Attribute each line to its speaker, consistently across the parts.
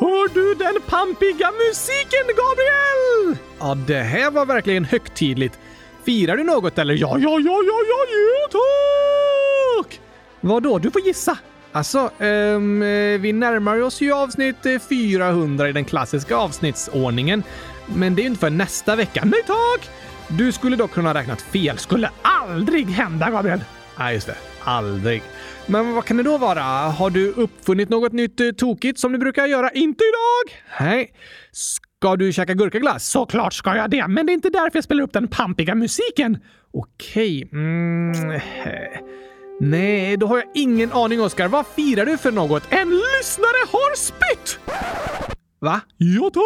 Speaker 1: Hör du den pampiga musiken, Gabriel? Ja, det här var verkligen högtidligt. Firar du något eller? Ja, ja, ja, ja, ja, ja, tack! Vadå? Du får gissa. Alltså, ehm, eh, vi närmar oss ju avsnitt eh, 400 i den klassiska avsnittsordningen. Men det är ju inte för nästa vecka. Nej tack! Du skulle dock kunna ha räknat fel. Skulle aldrig hända, Gabriel. Nej, just det. Aldrig. Men vad kan det då vara? Har du uppfunnit något nytt eh, tokigt som du brukar göra? Inte idag! Nej. Ska du käka gurkaglass? Såklart ska jag det, men det är inte därför jag spelar upp den pampiga musiken. Okej. Mm. eh. Nej, då har jag ingen aning, Oskar. Vad firar du för något? En lyssnare har spytt! Va? Ja, tack!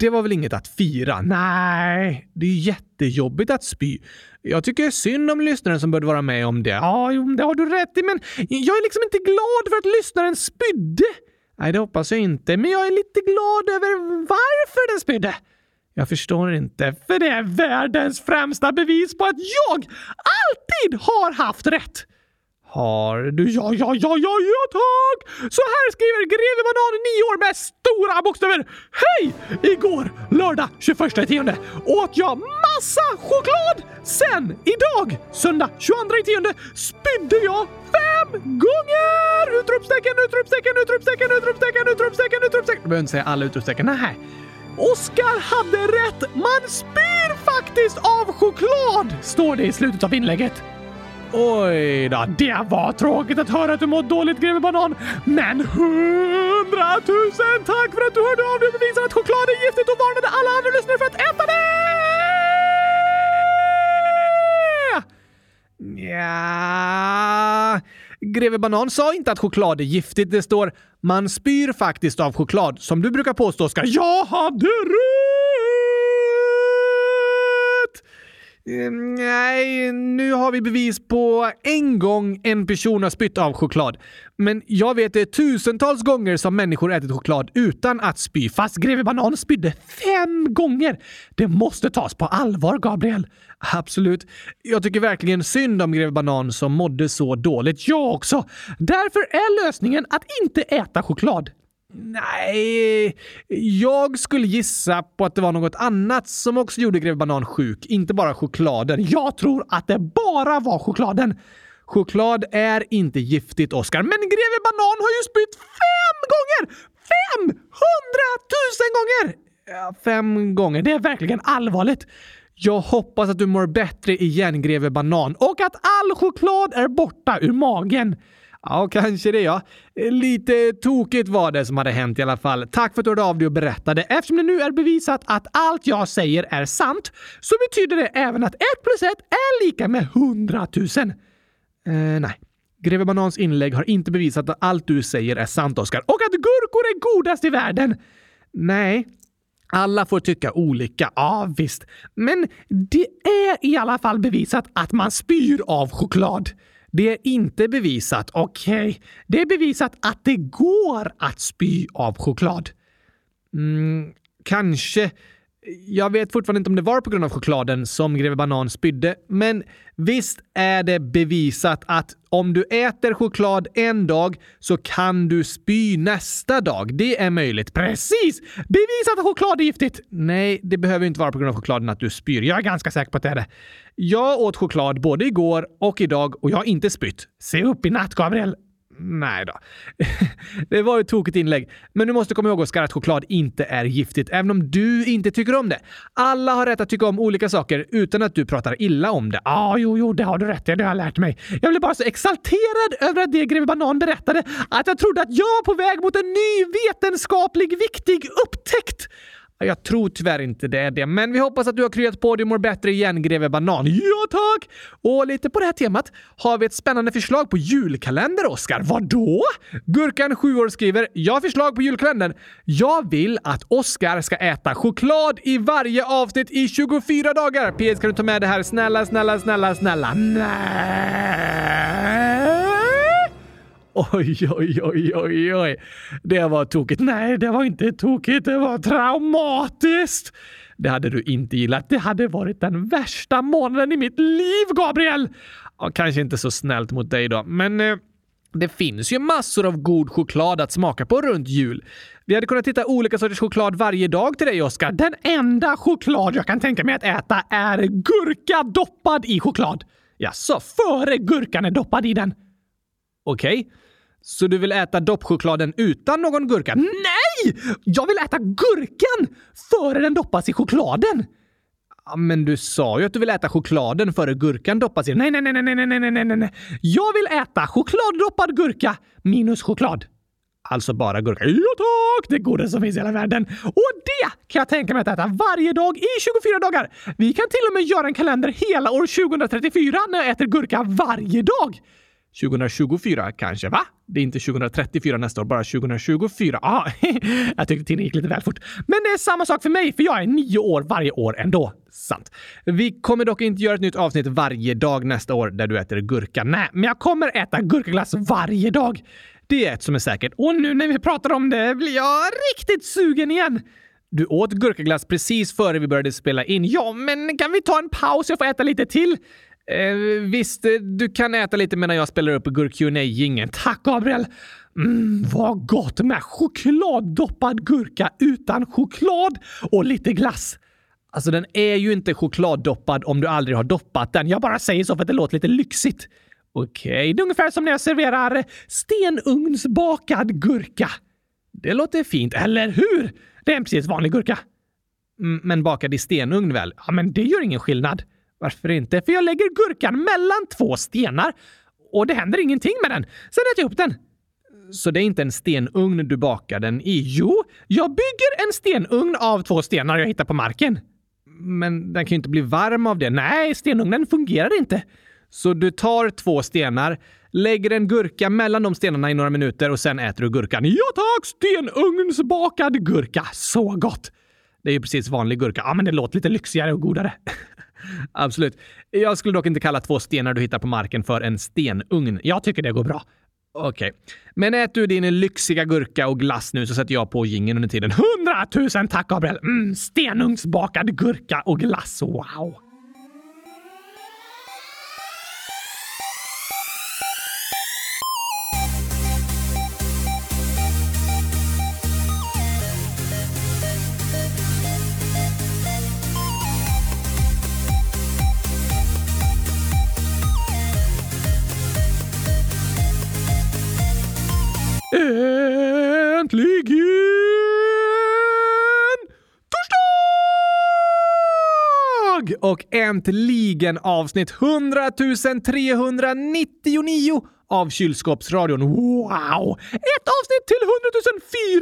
Speaker 1: Det var väl inget att fira? Nej, det är ju jättejobbigt att spy. Jag tycker synd om lyssnaren som började vara med om det. Ja, jo, det har du rätt i, men jag är liksom inte glad för att lyssnaren spydde. Nej, det hoppas jag inte, men jag är lite glad över varför den spydde. Jag förstår inte, för det är världens främsta bevis på att jag alltid har haft rätt. Har du? Ja, ja, ja, ja, ja, tack! Så här skriver greve Banan 9 år med stora bokstäver. Hej! Igår, lördag 21 tionde, åt jag massa choklad. Sen, idag, söndag 22 tionde, spydde jag fem gånger! Utropstecken, utropstecken, utropstecken, utropstecken, utropstecken, utropstecken. Du behöver inte säga alla utropstecken. Nej. Oskar hade rätt! Man spyr faktiskt av choklad! Står det i slutet av inlägget. Oj då, det var tråkigt att höra att du mår dåligt greve Banan. Men hundratusen tack för att du hörde av dig och bevisade att choklad är giftigt och varnade alla andra lyssnare för att äta det! Ja. Greve Banan sa inte att choklad är giftigt. Det står “Man spyr faktiskt av choklad”, som du brukar påstå ska “Jag hade rätt!” Ehm, Nej, nu har vi bevis på en gång en person har spytt av choklad. Men jag vet det tusentals gånger som människor ätit choklad utan att spy. Fast greve Banan spydde fem gånger! Det måste tas på allvar, Gabriel. Absolut. Jag tycker verkligen synd om greve Banan som mådde så dåligt. Jag också! Därför är lösningen att inte äta choklad. Nej, jag skulle gissa på att det var något annat som också gjorde greve Banan sjuk, inte bara chokladen. Jag tror att det bara var chokladen. Choklad är inte giftigt, Oskar, men greve Banan har ju spytt fem gånger! Fem hundratusen gånger! Ja, fem gånger, det är verkligen allvarligt. Jag hoppas att du mår bättre igen, greve Banan, och att all choklad är borta ur magen. Ja, kanske det ja. Lite tokigt var det som hade hänt i alla fall. Tack för att du hörde av dig och berättade. Eftersom det nu är bevisat att allt jag säger är sant så betyder det även att 1 plus 1 är lika med 100 000. Eh, nej. Greve Banans inlägg har inte bevisat att allt du säger är sant, Oskar. Och att gurkor är godast i världen! Nej, alla får tycka olika, ja visst. Men det är i alla fall bevisat att man spyr av choklad. Det är inte bevisat, okej. Det är bevisat att det går att spy av choklad. Mm, kanske. Jag vet fortfarande inte om det var på grund av chokladen som greve Banan spydde, men visst är det bevisat att om du äter choklad en dag så kan du spy nästa dag. Det är möjligt. Precis! Bevisat att choklad är giftigt! Nej, det behöver inte vara på grund av chokladen att du spyr. Jag är ganska säker på att det är det. Jag åt choklad både igår och idag och jag har inte spytt. Se upp i natt, Gabriel! Nej då. Det var ett tokigt inlägg. Men du måste komma ihåg Oskar att choklad inte är giftigt, även om du inte tycker om det. Alla har rätt att tycka om olika saker utan att du pratar illa om det. Ja, ah, jo, jo, det har du rätt i. Det har jag lärt mig. Jag blev bara så exalterad över att det greve Banan berättade att jag trodde att jag var på väg mot en ny vetenskaplig viktig upptäckt. Jag tror tyvärr inte det är det, men vi hoppas att du har kryat på dig och mår bättre igen, greve Banan. Ja, tack! Och lite på det här temat har vi ett spännande förslag på julkalender, Oskar. Vadå? Gurkan, 7 år, skriver “Jag har förslag på julkalendern. Jag vill att Oskar ska äta choklad i varje avsnitt i 24 dagar. PS, kan du ta med det här? Snälla, snälla, snälla, snälla. Nej. Oj, oj, oj, oj, oj. Det var tokigt. Nej, det var inte tokigt. Det var traumatiskt. Det hade du inte gillat. Det hade varit den värsta månaden i mitt liv, Gabriel! Ja, kanske inte så snällt mot dig då, men eh, Det finns ju massor av god choklad att smaka på runt jul. Vi hade kunnat hitta olika sorters choklad varje dag till dig, Oskar. Den enda choklad jag kan tänka mig att äta är gurka doppad i choklad. Jaså, före gurkan är doppad i den? Okej. Så du vill äta doppchokladen utan någon gurka? Nej! Jag vill äta gurkan före den doppas i chokladen! Ja, men du sa ju att du vill äta chokladen före gurkan doppas i. Nej, nej, nej, nej, nej, nej, nej, nej, nej, nej. Jag vill äta chokladdoppad gurka minus choklad. Alltså bara gurka. Ja tack! Det goda som finns i hela världen. Och det kan jag tänka mig att äta varje dag i 24 dagar. Vi kan till och med göra en kalender hela år 2034 när jag äter gurka varje dag. 2024 kanske, va? Det är inte 2034 nästa år, bara 2024. Ah, jag tyckte tiden gick lite väl fort. Men det är samma sak för mig, för jag är nio år varje år ändå. Sant. Vi kommer dock inte göra ett nytt avsnitt varje dag nästa år där du äter gurka. Nej, men jag kommer äta gurkaglass varje dag. Det är ett som är säkert. Och nu när vi pratar om det blir jag riktigt sugen igen. Du åt gurkaglass precis före vi började spela in. Ja, men kan vi ta en paus? Jag får äta lite till. Eh, visst, eh, du kan äta lite medan jag spelar upp gurk qa gingen Tack, Gabriel! Mm, vad gott med chokladdoppad gurka utan choklad och lite glass. Alltså, den är ju inte chokladdoppad om du aldrig har doppat den. Jag bara säger så för att det låter lite lyxigt. Okej, det är ungefär som när jag serverar stenugnsbakad gurka. Det låter fint, eller hur? Det är en precis vanlig gurka. Mm, Men bakad i stenugn väl? Ja, men det gör ingen skillnad. Varför inte? För jag lägger gurkan mellan två stenar och det händer ingenting med den. Sen äter jag upp den. Så det är inte en stenugn du bakar den i? Jo, jag bygger en stenugn av två stenar jag hittar på marken. Men den kan ju inte bli varm av det. Nej, stenugnen fungerar inte. Så du tar två stenar, lägger en gurka mellan de stenarna i några minuter och sen äter du gurkan. Ja tack! Stenugnsbakad gurka. Så gott! Det är ju precis vanlig gurka. Ja, men det låter lite lyxigare och godare. Absolut. Jag skulle dock inte kalla två stenar du hittar på marken för en stenugn. Jag tycker det går bra. Okej. Men ät du din lyxiga gurka och glass nu så sätter jag på gingen under tiden. Hundratusen tack, Gabriel! Mm, stenugnsbakad gurka och glass. Wow! Äntligen torsdag! Och äntligen avsnitt 100 399 av Kylskåpsradion. Wow! Ett avsnitt till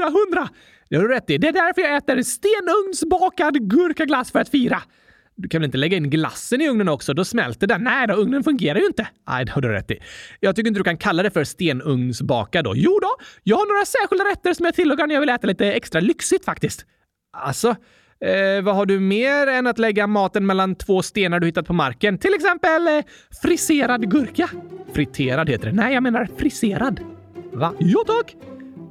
Speaker 1: 100 400! Det har du rätt i. Det är därför jag äter stenugnsbakad gurkaglass för att fira. Du kan väl inte lägga in glassen i ugnen också? Då smälter den. Nej då, ugnen fungerar ju inte. Nej, det har du rätt i. Jag tycker inte du kan kalla det för stenugnsbakad då. Jo då, jag har några särskilda rätter som jag tillagar när jag vill äta lite extra lyxigt faktiskt. Alltså, eh, vad har du mer än att lägga maten mellan två stenar du hittat på marken? Till exempel eh, friserad gurka. Friterad heter det. Nej, jag menar friserad. Va? Jo tack!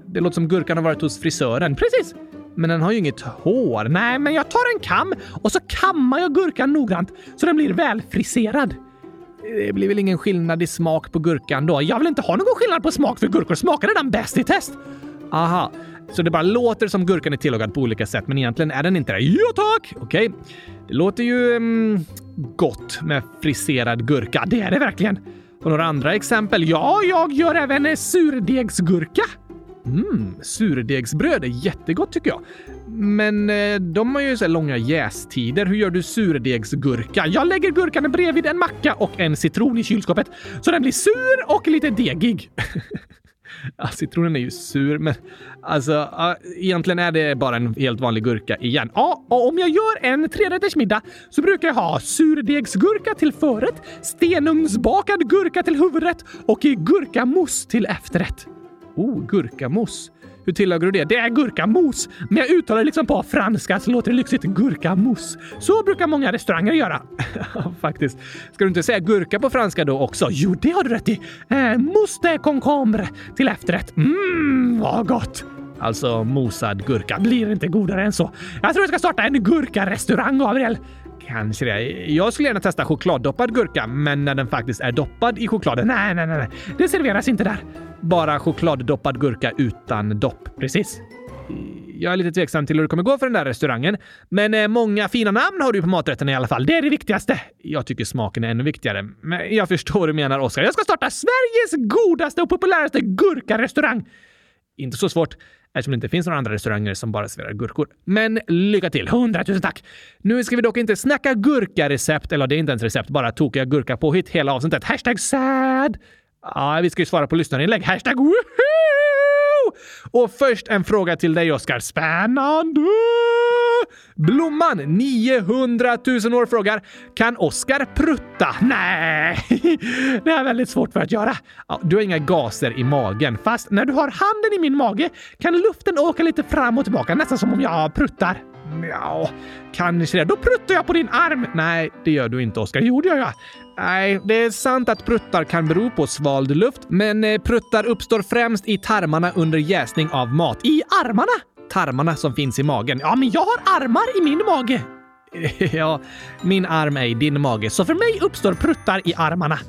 Speaker 1: Det låter som gurkan har varit hos frisören. Precis! Men den har ju inget hår. Nej, men jag tar en kam och så kammar jag gurkan noggrant så den blir välfriserad. Det blir väl ingen skillnad i smak på gurkan då? Jag vill inte ha någon skillnad på smak för gurkor smakar redan bäst i test. Aha, så det bara låter som gurkan är tillagad på olika sätt men egentligen är den inte det. Jo tack! Okej, det låter ju mm, gott med friserad gurka. Det är det verkligen. Och några andra exempel? Ja, jag gör även eh, surdegsgurka. Mm, surdegsbröd är jättegott tycker jag. Men eh, de har ju så här långa jästider. Hur gör du surdegsgurka? Jag lägger gurkan bredvid en macka och en citron i kylskåpet så den blir sur och lite degig. Ja, citronen är ju sur, men alltså ja, egentligen är det bara en helt vanlig gurka igen. Ja, och om jag gör en trerättersmiddag så brukar jag ha surdegsgurka till förrätt, stenugnsbakad gurka till huvudrätt och gurkamousse till efterrätt. Oh, gurkamos. Hur tillagar du det? Det är gurkamos, men jag uttalar det liksom på franska så låter det lyxigt. Gurkamos. Så brukar många restauranger göra. Ja, Faktiskt. Ska du inte säga gurka på franska då också? Jo, det har du rätt i. Eh, mousse con cambre till efterrätt. Mmm, vad gott! Alltså mosad gurka. Blir inte godare än så. Jag tror jag ska starta en gurkarestaurang, Gabriel. Kanske det. Jag skulle gärna testa chokladdoppad gurka, men när den faktiskt är doppad i chokladen. Nej, nej, nej, nej. Det serveras inte där. Bara chokladdoppad gurka utan dopp. Precis. Jag är lite tveksam till hur det kommer gå för den där restaurangen. Men eh, många fina namn har du på maträtten i alla fall. Det är det viktigaste. Jag tycker smaken är ännu viktigare. Men jag förstår hur du menar, Oskar. Jag ska starta Sveriges godaste och populäraste gurkarestaurang. Inte så svårt eftersom det inte finns några andra restauranger som bara serverar gurkor. Men lycka till! Hundratusen tack! Nu ska vi dock inte snacka gurkarecept, eller det är inte ens recept, bara tokiga gurka på hit hela avsnittet. Hashtag sad! Ja, vi ska ju svara på lyssnarinlägg. Hashtag woohoo! Och först en fråga till dig, Oskar. Spännande! Blomman, 900 000 år, frågar Kan Oskar prutta? Nej, det är väldigt svårt för att göra. Ja, du har inga gaser i magen, fast när du har handen i min mage kan luften åka lite fram och tillbaka, nästan som om jag pruttar. Ja, kanske det. Då pruttar jag på din arm! Nej, det gör du inte, Oskar. Jo, det gör jag. Nej, det är sant att pruttar kan bero på svald luft, men eh, pruttar uppstår främst i tarmarna under jäsning av mat. I armarna? tarmarna som finns i magen. Ja, men jag har armar i min mage! ja, min arm är i din mage, så för mig uppstår pruttar i armarna.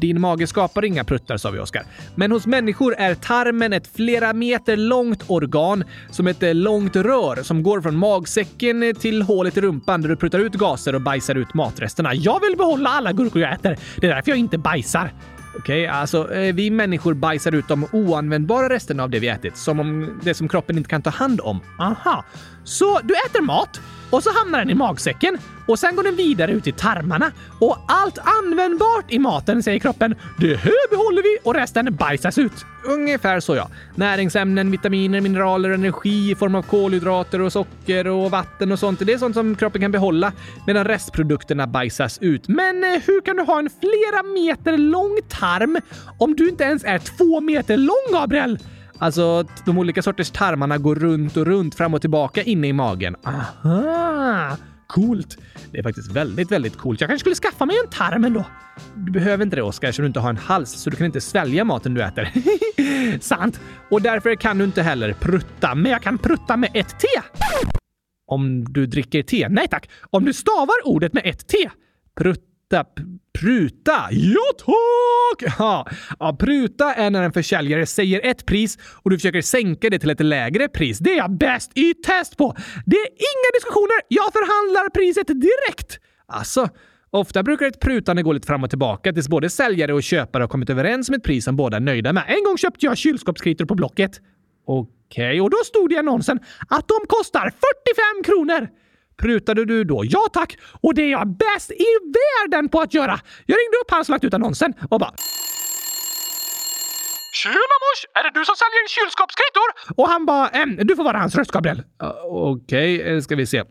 Speaker 1: Din mage skapar inga pruttar, sa vi Oskar. Men hos människor är tarmen ett flera meter långt organ som ett eh, långt rör som går från magsäcken eh, till hålet i rumpan där du pruttar ut gaser och bajsar ut matresterna. Jag vill behålla alla gurkor jag äter. Det är därför jag inte bajsar. Okej, alltså eh, vi människor bajsar ut de oanvändbara resterna av det vi ätit, som om det som kroppen inte kan ta hand om. Aha, så du äter mat och så hamnar den i magsäcken och sen går den vidare ut i tarmarna och allt användbart i maten säger kroppen det här behåller vi och resten bajsas ut. Ungefär så ja. Näringsämnen, vitaminer, mineraler, energi i form av kolhydrater och socker och vatten och sånt. Det är sånt som kroppen kan behålla medan restprodukterna bajsas ut. Men eh, hur kan du ha en flera meter lång tarm om du inte ens är två meter lång, Gabriel? Alltså, att de olika sorters tarmarna går runt och runt, fram och tillbaka inne i magen. Aha! Coolt! Det är faktiskt väldigt, väldigt coolt. Jag kanske skulle skaffa mig en tarm ändå. Du behöver inte det, Oskar, så du inte har en hals, så du kan inte svälja maten du äter. Sant! Och därför kan du inte heller prutta, men jag kan prutta med ett T! Om du dricker te? Nej tack! Om du stavar ordet med ett T? Prutta, p- pruta. Ja tack! Ja. ja, pruta är när en försäljare säger ett pris och du försöker sänka det till ett lägre pris. Det är jag bäst i test på! Det är inga diskussioner! Jag förhandlar priset direkt! Alltså, ofta brukar ett prutande gå lite fram och tillbaka tills både säljare och köpare har kommit överens om ett pris som båda är nöjda med. En gång köpte jag kylskåpskritor på Blocket. Okej, och då stod det i annonsen att de kostar 45 kronor! Prutade du då? Ja tack! Och det är jag bäst i världen på att göra! Jag ringde upp han som lagt ut annonsen och bara Tjena mors! Är det du som säljer kylskåpskritor? Och han bara, ehm, du får vara hans röst Gabriel. Okej, eh, ska vi se.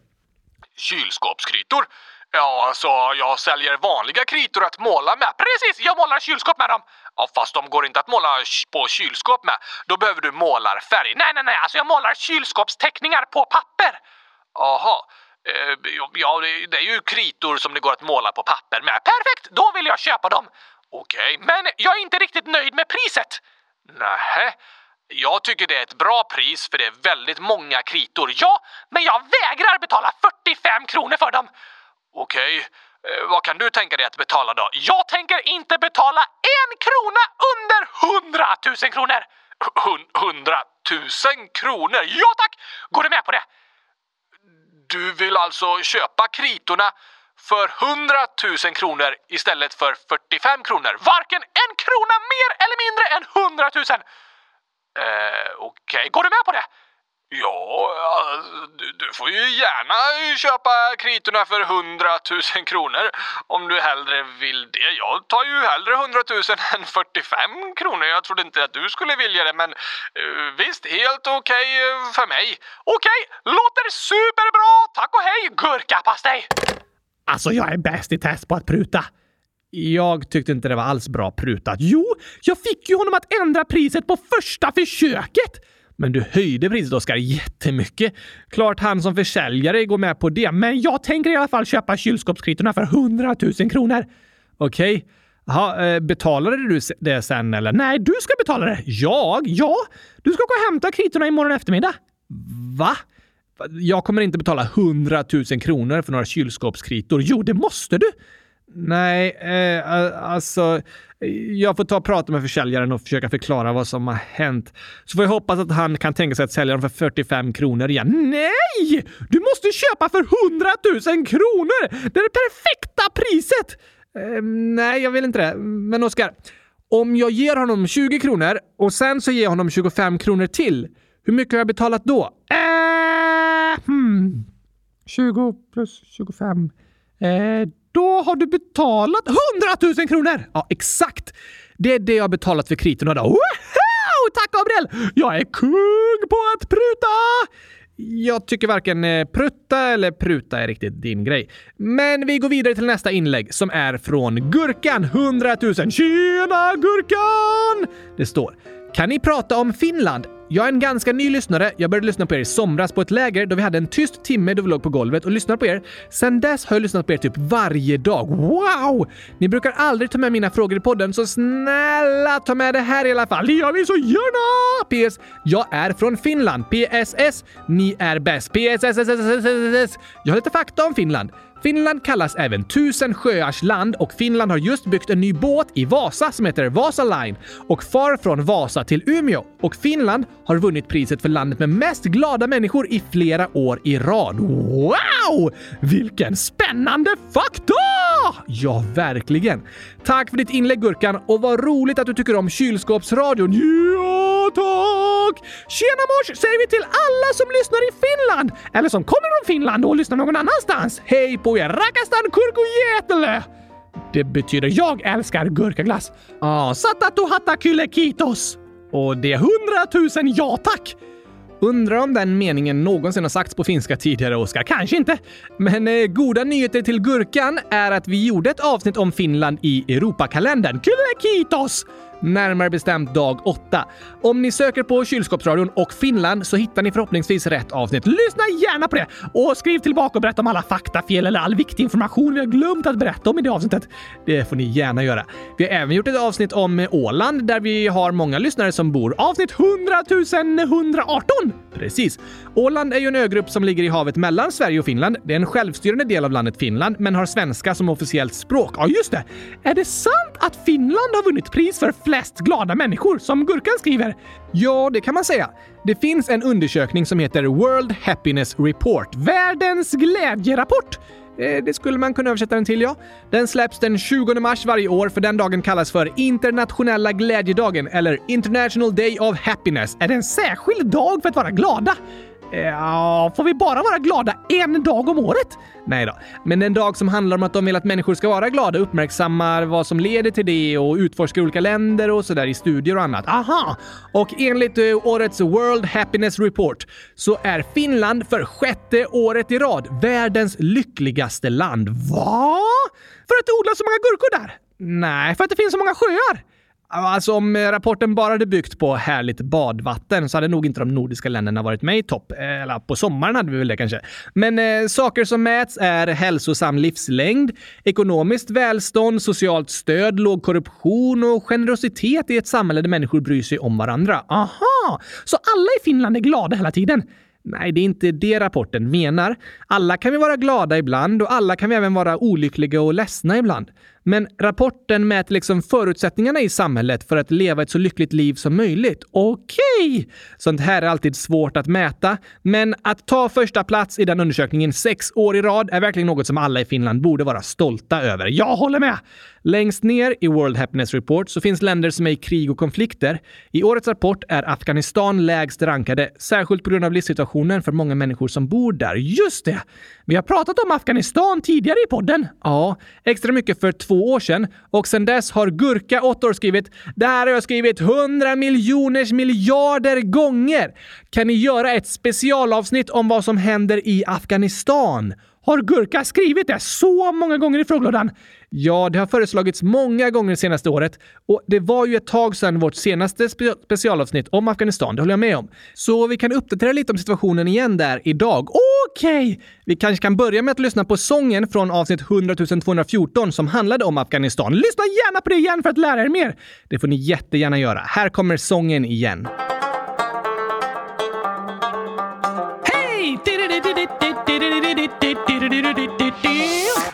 Speaker 1: Kylskåpskritor? Ja, alltså jag säljer vanliga kritor att måla med. Precis, jag målar kylskåp med dem! Ja, fast de går inte att måla k- på kylskåp med. Då behöver du målarfärg. Nej, nej, nej, alltså jag målar kylskåpsteckningar på papper! Aha. Eh, Ja, det- det är ju kritor som det går att måla på papper med. Perfekt! Då vill jag köpa dem! Okej, men jag är inte riktigt nöjd med priset. Nähä. Jag tycker det är ett bra pris för det är väldigt många kritor. Ja, men jag vägrar betala 45 kronor för dem! Okej, eh, vad kan du tänka dig att betala då? Jag tänker inte betala en krona under 100 000 kronor! Hun- 100 000 kronor? Ja tack! Går du med på det? Du vill alltså köpa kritorna för 100 000 kronor istället för 45 kronor? Varken en krona mer eller mindre än 100 000! Eh, Okej, går du med på det? Ja, alltså, du, du får ju gärna köpa kritorna för 100 000 kronor om du hellre vill det. Jag tar ju hellre 100 000 än 45 kronor. Jag trodde inte att du skulle vilja det, men eh, visst, helt okej eh, för mig. Okej, låter superbra! Tack och hej, gurkapastej! Alltså, jag är bäst i test på att pruta. Jag tyckte inte det var alls bra prutat. Jo, jag fick ju honom att ändra priset på första försöket! Men du höjde priset, Oskar, jättemycket. Klart han som försäljare går med på det, men jag tänker i alla fall köpa kylskåpskritorna för 100 000 kronor. Okej. Jaha, eh, betalade du se- det sen eller? Nej, du ska betala det. Jag? Ja. Du ska gå och hämta kritorna imorgon eftermiddag. Va?
Speaker 2: Jag kommer inte betala 100 000 kronor för några kylskåpskritor. Jo, det måste du! Nej, eh, alltså... Jag får ta och prata med försäljaren och försöka förklara vad som har hänt. Så får jag hoppas att han kan tänka sig att sälja dem för 45 kronor igen. Nej! Du måste köpa för 100 000 kronor! Det är det perfekta priset! Eh, nej, jag vill inte det. Men Oskar, om jag ger honom 20 kronor och sen så ger jag honom 25 kronor till, hur mycket har jag betalat då? Eh, hmm. 20 plus 25. Eh, då har du betalat 100 000 kronor! Ja, exakt! Det är det jag har betalat för kritorna då. Wow! Tack Gabriel! Jag är kung på att pruta! Jag tycker varken eh, prutta eller pruta är riktigt din grej. Men vi går vidare till nästa inlägg som är från Gurkan 100 000. Tjena Gurkan! Det står “Kan ni prata om Finland? Jag är en ganska ny lyssnare. Jag började lyssna på er i somras på ett läger då vi hade en tyst timme då vi låg på golvet och lyssnade på er. Sen dess har jag lyssnat på er typ varje dag. Wow! Ni brukar aldrig ta med mina frågor i podden, så snälla ta med det här i alla fall. Det gör vi så gärna! PS. Jag är från Finland. PSS. Ni är bäst. PSSSSSS. Jag har lite fakta om Finland. Finland kallas även tusen sjöars land och Finland har just byggt en ny båt i Vasa som heter Vasa Line och far från Vasa till Umeå. Och Finland har vunnit priset för landet med mest glada människor i flera år i rad. Wow! Vilken spännande fakta! Ja, verkligen. Tack för ditt inlägg Gurkan och vad roligt att du tycker om kylskåpsradion. Ja, tack! Tjena mors säger vi till alla som lyssnar i Finland eller som kommer från Finland och lyssnar någon annanstans. Hej på er Rakastan Kurkujetele! Det betyder jag älskar gurkaglass. Ah, satatu hatta kylekitos! Och det är hundratusen ja tack! Undrar om den meningen någonsin har sagts på finska tidigare, Oskar? Kanske inte. Men eh, goda nyheter till Gurkan är att vi gjorde ett avsnitt om Finland i Europakalendern. Kylekitos! Närmare bestämt dag 8. Om ni söker på kylskåpsradion och Finland så hittar ni förhoppningsvis rätt avsnitt. Lyssna gärna på det! Och skriv tillbaka och berätta om alla faktafel eller all viktig information vi har glömt att berätta om i det avsnittet. Det får ni gärna göra. Vi har även gjort ett avsnitt om Åland där vi har många lyssnare som bor. Avsnitt 100 118! Precis. Åland är ju en ögrupp som ligger i havet mellan Sverige och Finland. Det är en självstyrande del av landet Finland, men har svenska som officiellt språk. Ja, just det! Är det sant att Finland har vunnit pris för flest glada människor, som Gurkan skriver? Ja, det kan man säga. Det finns en undersökning som heter World Happiness Report, världens glädjerapport. Eh, Det skulle man kunna översätta den till, ja. Den släpps den 20 mars varje år, för den dagen kallas för Internationella glädjedagen eller International Day of Happiness. Är det en särskild dag för att vara glada? Eh, Ja, får vi bara vara glada en dag om året? Nej då. Men en dag som handlar om att de vill att människor ska vara glada uppmärksammar vad som leder till det och utforskar olika länder och sådär i studier och annat. Aha! Och enligt eh, årets World Happiness Report så är Finland för sjätte året i rad världens lyckligaste land. Va? För att det odlas så många gurkor där? Nej, för att det finns så många sjöar. Alltså om eh, rapporten bara hade byggt på härligt badvatten så hade nog inte de nordiska länderna varit med i topp. Eh, Eller på sommaren hade vi väl det kanske. Men eh, saker som mäts är hälsosam livslängd, ekonomiskt välstånd, socialt stöd, låg korruption och generositet i ett samhälle där människor bryr sig om varandra. Aha! Så alla i Finland är glada hela tiden? Nej, det är inte det rapporten menar. Alla kan vi vara glada ibland och alla kan vi även vara olyckliga och ledsna ibland. Men rapporten mäter liksom förutsättningarna i samhället för att leva ett så lyckligt liv som möjligt. Okej! Sånt här är alltid svårt att mäta, men att ta första plats i den undersökningen sex år i rad är verkligen något som alla i Finland borde vara stolta över. Jag håller med! Längst ner i World Happiness Report så finns länder som är i krig och konflikter. I årets rapport är Afghanistan lägst rankade, särskilt på grund av livssituationen för många människor som bor där. Just det! Vi har pratat om Afghanistan tidigare i podden. Ja, extra mycket för två år sedan. Och sedan dess har Gurka, 8 år, skrivit “Det här har jag skrivit 100 miljoners miljarder gånger! Kan ni göra ett specialavsnitt om vad som händer i Afghanistan?” Har Gurka skrivit det så många gånger i frågelådan? Ja, det har föreslagits många gånger senaste året och det var ju ett tag sedan vårt senaste spe specialavsnitt om Afghanistan, det håller jag med om. Så vi kan uppdatera lite om situationen igen där idag. Okej! Vi kanske kan börja med att lyssna på sången från avsnitt 100 214 som handlade om Afghanistan. Lyssna gärna på det igen för att lära er mer! Det får ni jättegärna göra. Här kommer sången igen. Hej! Tididi,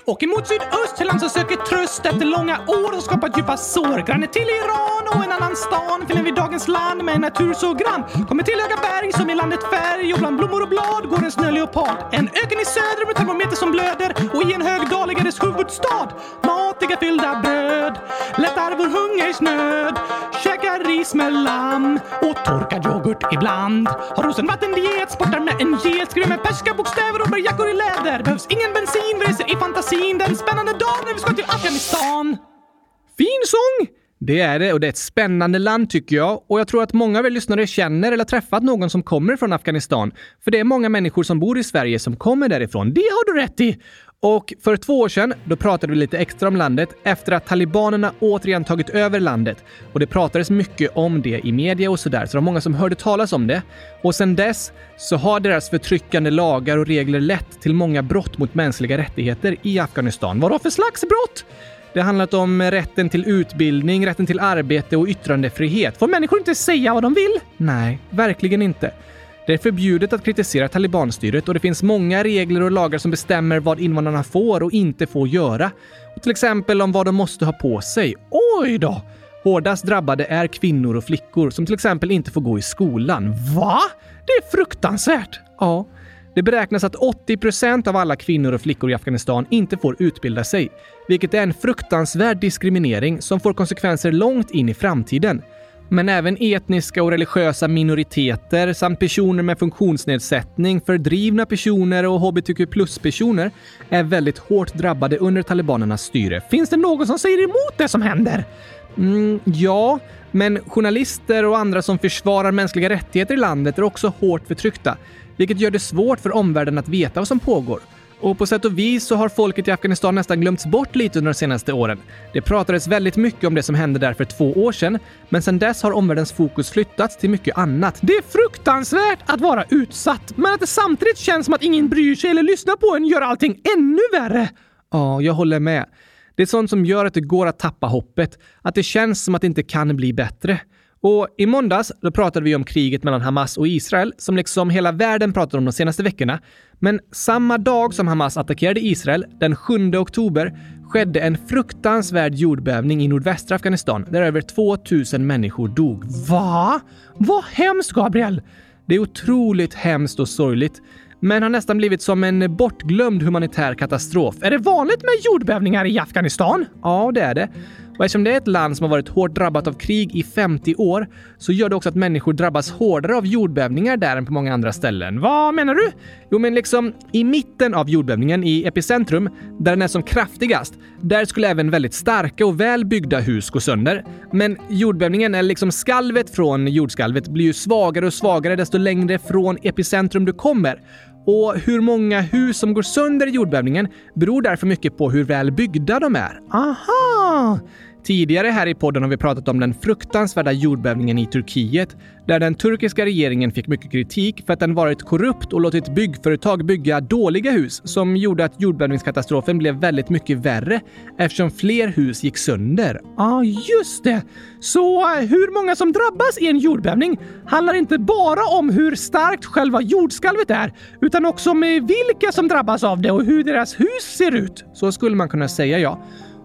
Speaker 3: Och emot sydöst till land som söker tröst efter långa år som skapat djupa sår. Granne till Iran och en annan stan finner vi dagens land med en natur så grann. Kommer till höga berg som i landet färg och bland blommor och blad går en snöleopard. En öken i söder med termometer som blöder och i en hög dal ligger dess huvudstad. Matiga fyllda bröd lättar vår hungersnöd. Käkar ris med lamm och torkad yoghurt ibland. Har rosenvattendiet, sportar med en get, skriver med persiska bokstäver och bär jackor i läder. Behövs ingen bensin, vi reser i fantasin. Den spännande dagen när vi ska till Afghanistan.
Speaker 2: Fin sång! Det är det och det är ett spännande land tycker jag och jag tror att många av er lyssnare känner eller har träffat någon som kommer från Afghanistan. För det är många människor som bor i Sverige som kommer därifrån. Det har du rätt i! Och för två år sedan, då pratade vi lite extra om landet efter att talibanerna återigen tagit över landet. Och det pratades mycket om det i media och sådär, så det var många som hörde talas om det. Och sedan dess så har deras förtryckande lagar och regler lett till många brott mot mänskliga rättigheter i Afghanistan. Vad då för slags brott? Det har handlat om rätten till utbildning, rätten till arbete och yttrandefrihet. Får människor inte säga vad de vill? Nej, verkligen inte. Det är förbjudet att kritisera talibanstyret och det finns många regler och lagar som bestämmer vad invandrarna får och inte får göra. Och till exempel om vad de måste ha på sig. Oj då! Hårdast drabbade är kvinnor och flickor som till exempel inte får gå i skolan. Va? Det är fruktansvärt! Ja. Det beräknas att 80 procent av alla kvinnor och flickor i Afghanistan inte får utbilda sig, vilket är en fruktansvärd diskriminering som får konsekvenser långt in i framtiden. Men även etniska och religiösa minoriteter samt personer med funktionsnedsättning, fördrivna personer och hbtq plus-personer är väldigt hårt drabbade under talibanernas styre. Finns det någon som säger emot det som händer? Mm, ja, men journalister och andra som försvarar mänskliga rättigheter i landet är också hårt förtryckta, vilket gör det svårt för omvärlden att veta vad som pågår. Och på sätt och vis så har folket i Afghanistan nästan glömts bort lite under de senaste åren. Det pratades väldigt mycket om det som hände där för två år sedan, men sedan dess har omvärldens fokus flyttats till mycket annat.
Speaker 3: Det är fruktansvärt att vara utsatt, men att det samtidigt känns som att ingen bryr sig eller lyssnar på en gör allting ännu värre.
Speaker 2: Ja, jag håller med. Det är sånt som gör att det går att tappa hoppet. Att det känns som att det inte kan bli bättre. Och i måndags då pratade vi om kriget mellan Hamas och Israel som liksom hela världen pratar om de senaste veckorna. Men samma dag som Hamas attackerade Israel, den 7 oktober, skedde en fruktansvärd jordbävning i nordvästra Afghanistan där över 2000 människor dog.
Speaker 3: Va? Vad hemskt, Gabriel!
Speaker 2: Det är otroligt hemskt och sorgligt men har nästan blivit som en bortglömd humanitär katastrof.
Speaker 3: Är det vanligt med jordbävningar i Afghanistan?
Speaker 2: Ja, det är det. Och eftersom det är ett land som har varit hårt drabbat av krig i 50 år så gör det också att människor drabbas hårdare av jordbävningar där än på många andra ställen.
Speaker 3: Vad menar du?
Speaker 2: Jo, men liksom i mitten av jordbävningen, i epicentrum, där den är som kraftigast, där skulle även väldigt starka och väl byggda hus gå sönder. Men jordbävningen, eller liksom skalvet från jordskalvet, blir ju svagare och svagare desto längre från epicentrum du kommer. Och hur många hus som går sönder i jordbävningen beror därför mycket på hur väl byggda de är.
Speaker 3: Aha!
Speaker 2: Tidigare här i podden har vi pratat om den fruktansvärda jordbävningen i Turkiet, där den turkiska regeringen fick mycket kritik för att den varit korrupt och låtit byggföretag bygga dåliga hus som gjorde att jordbävningskatastrofen blev väldigt mycket värre eftersom fler hus gick sönder.
Speaker 3: Ja, ah, just det! Så eh, hur många som drabbas i en jordbävning handlar inte bara om hur starkt själva jordskalvet är, utan också om eh, vilka som drabbas av det och hur deras hus ser ut.
Speaker 2: Så skulle man kunna säga, ja.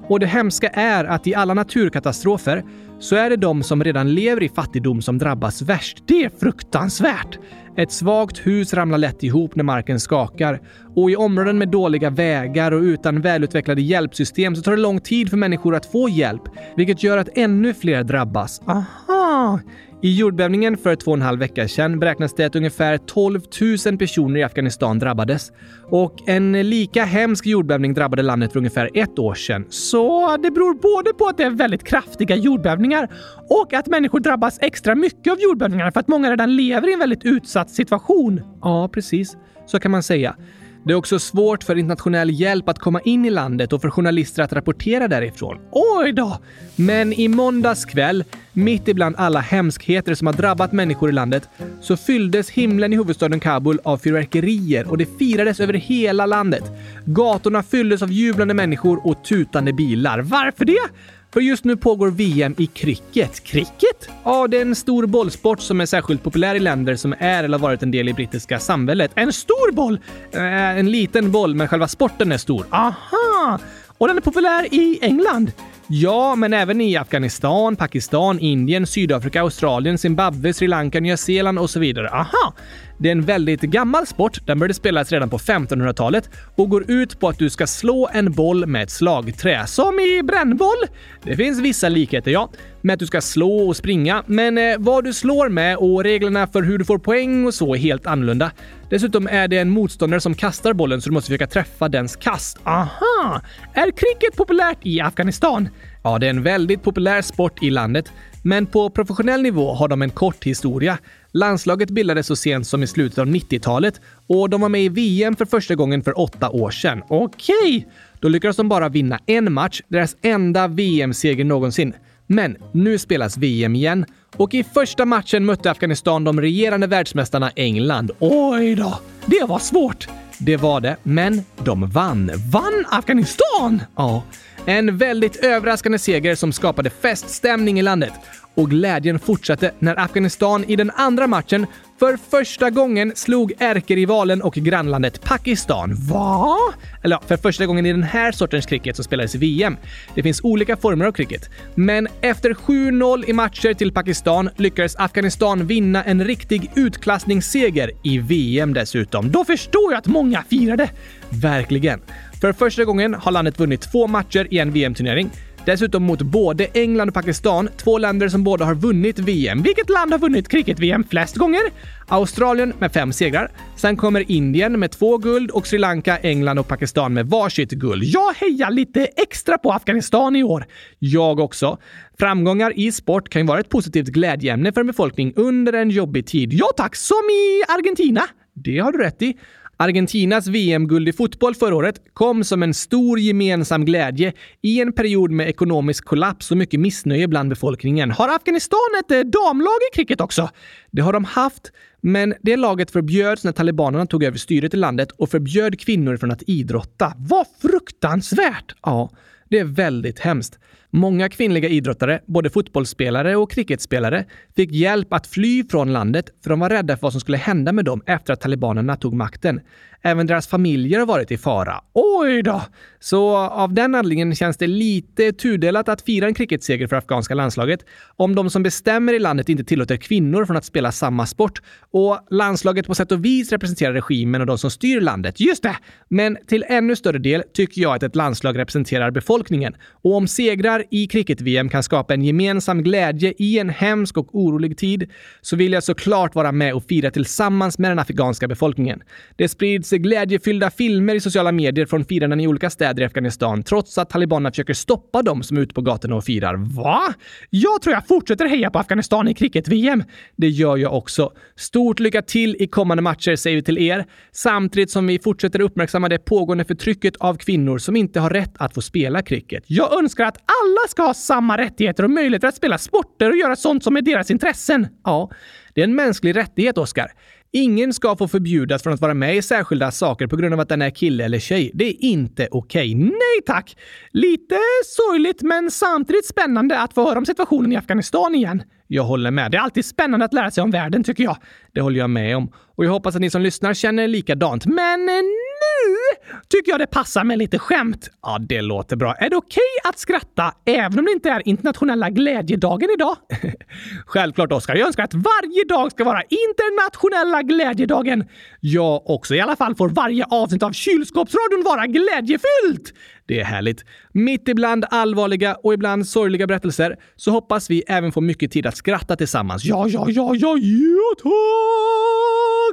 Speaker 2: Och det hemska är att i alla naturkatastrofer så är det de som redan lever i fattigdom som drabbas värst.
Speaker 3: Det är fruktansvärt!
Speaker 2: Ett svagt hus ramlar lätt ihop när marken skakar och i områden med dåliga vägar och utan välutvecklade hjälpsystem så tar det lång tid för människor att få hjälp, vilket gör att ännu fler drabbas.
Speaker 3: Aha!
Speaker 2: I jordbävningen för två och en halv vecka sedan beräknas det att ungefär 12 000 personer i Afghanistan drabbades. Och en lika hemsk jordbävning drabbade landet för ungefär ett år sedan.
Speaker 3: Så det beror både på att det är väldigt kraftiga jordbävningar och att människor drabbas extra mycket av jordbävningarna för att många redan lever i en väldigt utsatt situation.
Speaker 2: Ja, precis. Så kan man säga. Det är också svårt för internationell hjälp att komma in i landet och för journalister att rapportera därifrån.
Speaker 3: Oj då!
Speaker 2: Men i måndags kväll, mitt ibland alla hemskheter som har drabbat människor i landet, så fylldes himlen i huvudstaden Kabul av fyrverkerier och det firades över hela landet. Gatorna fylldes av jublande människor och tutande bilar.
Speaker 3: Varför det?
Speaker 2: För just nu pågår VM i cricket. Cricket? Ja, det är en stor bollsport som är särskilt populär i länder som är eller har varit en del i brittiska samhället. En stor boll! Eh, en liten boll, men själva sporten är stor.
Speaker 3: Aha! Och den är populär i England.
Speaker 2: Ja, men även i Afghanistan, Pakistan, Indien, Sydafrika, Australien, Zimbabwe, Sri Lanka, Nya Zeeland och så vidare.
Speaker 3: Aha!
Speaker 2: Det är en väldigt gammal sport. Den började spelas redan på 1500-talet och går ut på att du ska slå en boll med ett slagträ.
Speaker 3: Som i brännboll?
Speaker 2: Det finns vissa likheter, ja, med att du ska slå och springa, men eh, vad du slår med och reglerna för hur du får poäng och så är helt annorlunda. Dessutom är det en motståndare som kastar bollen så du måste försöka träffa dens kast.
Speaker 3: Aha! Är cricket populärt i Afghanistan?
Speaker 2: Ja, det är en väldigt populär sport i landet, men på professionell nivå har de en kort historia. Landslaget bildades så sent som i slutet av 90-talet och de var med i VM för första gången för åtta år sedan.
Speaker 3: Okej!
Speaker 2: Då lyckades de bara vinna en match, deras enda VM-seger någonsin. Men nu spelas VM igen och i första matchen mötte Afghanistan de regerande världsmästarna England.
Speaker 3: Oj då! Det var svårt!
Speaker 2: Det var det, men de vann.
Speaker 3: Vann Afghanistan?
Speaker 2: Ja. En väldigt överraskande seger som skapade feststämning i landet. Och glädjen fortsatte när Afghanistan i den andra matchen för första gången slog ärkerivalen och grannlandet Pakistan.
Speaker 3: Va?
Speaker 2: Eller ja, för första gången i den här sortens cricket som spelades i VM. Det finns olika former av cricket. Men efter 7-0 i matcher till Pakistan lyckades Afghanistan vinna en riktig utklassningsseger i VM dessutom.
Speaker 3: Då förstår jag att många firade!
Speaker 2: Verkligen. För första gången har landet vunnit två matcher i en VM-turnering. Dessutom mot både England och Pakistan, två länder som båda har vunnit VM.
Speaker 3: Vilket land har vunnit cricket-VM flest gånger?
Speaker 2: Australien med fem segrar. Sen kommer Indien med två guld och Sri Lanka, England och Pakistan med varsitt guld.
Speaker 3: Jag hejar lite extra på Afghanistan i år.
Speaker 2: Jag också. Framgångar i sport kan ju vara ett positivt glädjeämne för en befolkning under en jobbig tid.
Speaker 3: Ja tack, som i Argentina.
Speaker 2: Det har du rätt i. Argentinas VM-guld i fotboll förra året kom som en stor gemensam glädje i en period med ekonomisk kollaps och mycket missnöje bland befolkningen.
Speaker 3: Har Afghanistan
Speaker 2: eh,
Speaker 3: ett damlag i cricket också?
Speaker 2: Det har de haft, men det laget förbjöds när talibanerna tog över styret i landet och förbjöd kvinnor från att idrotta.
Speaker 3: Vad fruktansvärt!
Speaker 2: Ja, det är väldigt hemskt. Många kvinnliga idrottare, både fotbollsspelare och cricketspelare, fick hjälp att fly från landet för de var rädda för vad som skulle hända med dem efter att talibanerna tog makten. Även deras familjer har varit i fara.
Speaker 3: Oj då!
Speaker 2: Så av den anledningen känns det lite tudelat att fira en cricketseger för afghanska landslaget om de som bestämmer i landet inte tillåter kvinnor från att spela samma sport och landslaget på sätt och vis representerar regimen och de som styr landet.
Speaker 3: Just det!
Speaker 2: Men till ännu större del tycker jag att ett landslag representerar befolkningen och om segrar i cricket-VM kan skapa en gemensam glädje i en hemsk och orolig tid så vill jag såklart vara med och fira tillsammans med den afghanska befolkningen. Det sprids glädjefyllda filmer i sociala medier från firanden i olika städer i Afghanistan trots att talibanerna försöker stoppa dem som är ute på gatorna och firar.
Speaker 3: Va? Jag tror jag fortsätter heja på Afghanistan i cricket-VM.
Speaker 2: Det gör jag också. Stort lycka till i kommande matcher säger vi till er, samtidigt som vi fortsätter uppmärksamma det pågående förtrycket av kvinnor som inte har rätt att få spela cricket.
Speaker 3: Jag önskar att alla alla ska ha samma rättigheter och möjligheter att spela sporter och göra sånt som är deras intressen.
Speaker 2: Ja, det är en mänsklig rättighet, Oskar. Ingen ska få förbjudas från att vara med i särskilda saker på grund av att den är kille eller tjej. Det är inte okej.
Speaker 3: Nej tack! Lite sorgligt men samtidigt spännande att få höra om situationen i Afghanistan igen.
Speaker 2: Jag håller med.
Speaker 3: Det är alltid spännande att lära sig om världen tycker jag.
Speaker 2: Det håller jag med om. Och jag hoppas att ni som lyssnar känner likadant.
Speaker 3: Men eh, nu tycker jag det passar med lite skämt.
Speaker 2: Ja, det låter bra.
Speaker 3: Är det okej att skratta även om det inte är internationella glädjedagen idag?
Speaker 2: Självklart Oskar. Jag önskar att
Speaker 3: varje dag ska vara internationella glädjedagen.
Speaker 2: Jag också.
Speaker 3: I alla fall får varje avsnitt av Kylskåpsradion vara glädjefyllt.
Speaker 2: Det är härligt. Mitt ibland allvarliga och ibland sorgliga berättelser så hoppas vi även få mycket tid att skratta tillsammans.
Speaker 3: Ja, ja, ja, ja, ja,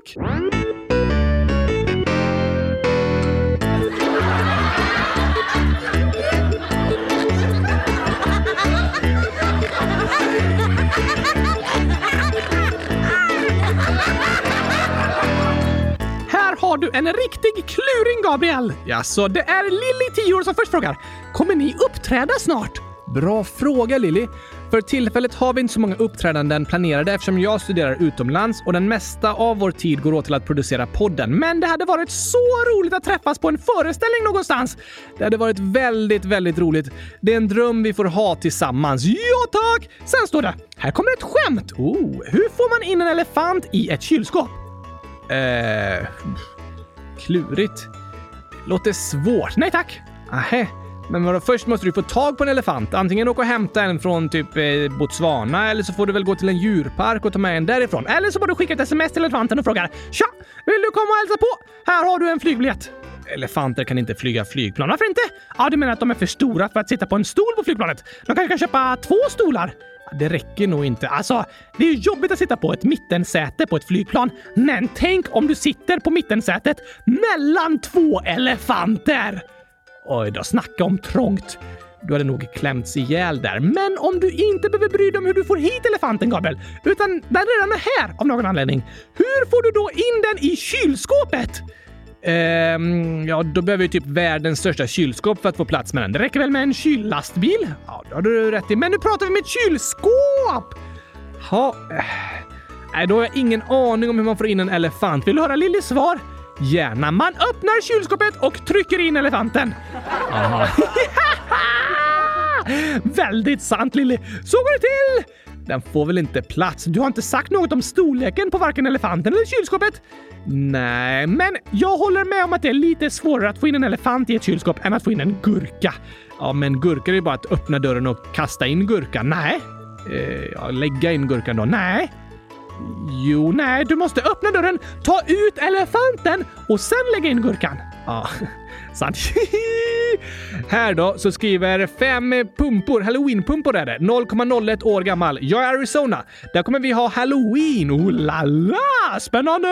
Speaker 3: tack! Här har du en riktig kluring, Gabriel!
Speaker 2: Ja, så
Speaker 3: det är Lilly, 10 år, som först frågar “Kommer ni uppträda snart?”
Speaker 2: Bra fråga, Lilly. För tillfället har vi inte så många uppträdanden planerade eftersom jag studerar utomlands och den mesta av vår tid går åt till att producera podden. Men det hade varit så roligt att träffas på en föreställning någonstans! Det hade varit väldigt, väldigt roligt. Det är en dröm vi får ha tillsammans. Ja tack! Sen står det, här kommer ett skämt. Oh, hur får man in en elefant i ett kylskåp? Eh, klurigt. Låter svårt. Nej tack! Nähä. Men vadå, först måste du få tag på en elefant. Antingen åka och hämta en från typ eh, Botswana eller så får du väl gå till en djurpark och ta med en därifrån. Eller så bara du skicka ett sms till elefanten och frågar “Tja! Vill du komma och hälsa på? Här har du en flygbiljett!” Elefanter kan inte flyga flygplan. Varför inte? Ja, du menar att de är för stora för att sitta på en stol på flygplanet? De kanske kan köpa två stolar? Det räcker nog inte. Alltså, det är ju jobbigt att sitta på ett mittensäte på ett flygplan. Men tänk om du sitter på mittensätet mellan två elefanter! Oj då, snacka om trångt. Du hade nog klämts ihjäl där. Men om du inte behöver bry dig om hur du får hit elefanten, Gabriel, utan den redan är här av någon anledning. Hur får du då in den i kylskåpet? Ehm, ja, då behöver vi typ världens största kylskåp för att få plats med den. Det räcker väl med en kyllastbil? Ja, det har du rätt i. Men nu pratar vi med ett kylskåp! Ha, eh. Nej, då har jag ingen aning om hur man får in en elefant. Vill du höra Lillys svar? Gärna. Man öppnar kylskåpet och trycker in elefanten. Aha. Väldigt sant Lilly. Så går det till! Den får väl inte plats? Du har inte sagt något om storleken på varken elefanten eller kylskåpet? Nej, men jag håller med om att det är lite svårare att få in en elefant i ett kylskåp än att få in en gurka. Ja, men gurka är ju bara att öppna dörren och kasta in gurkan. Nej. Eh, ja, lägga in gurkan då. Nej. Jo, nej, du måste öppna dörren, ta ut elefanten och sen lägga in gurkan. Ja, sant. Här då så skriver fem pumpor, halloweenpumpor är det, 0,01 år gammal. Jag är i Arizona. Där kommer vi ha halloween. Oh la la, spännande!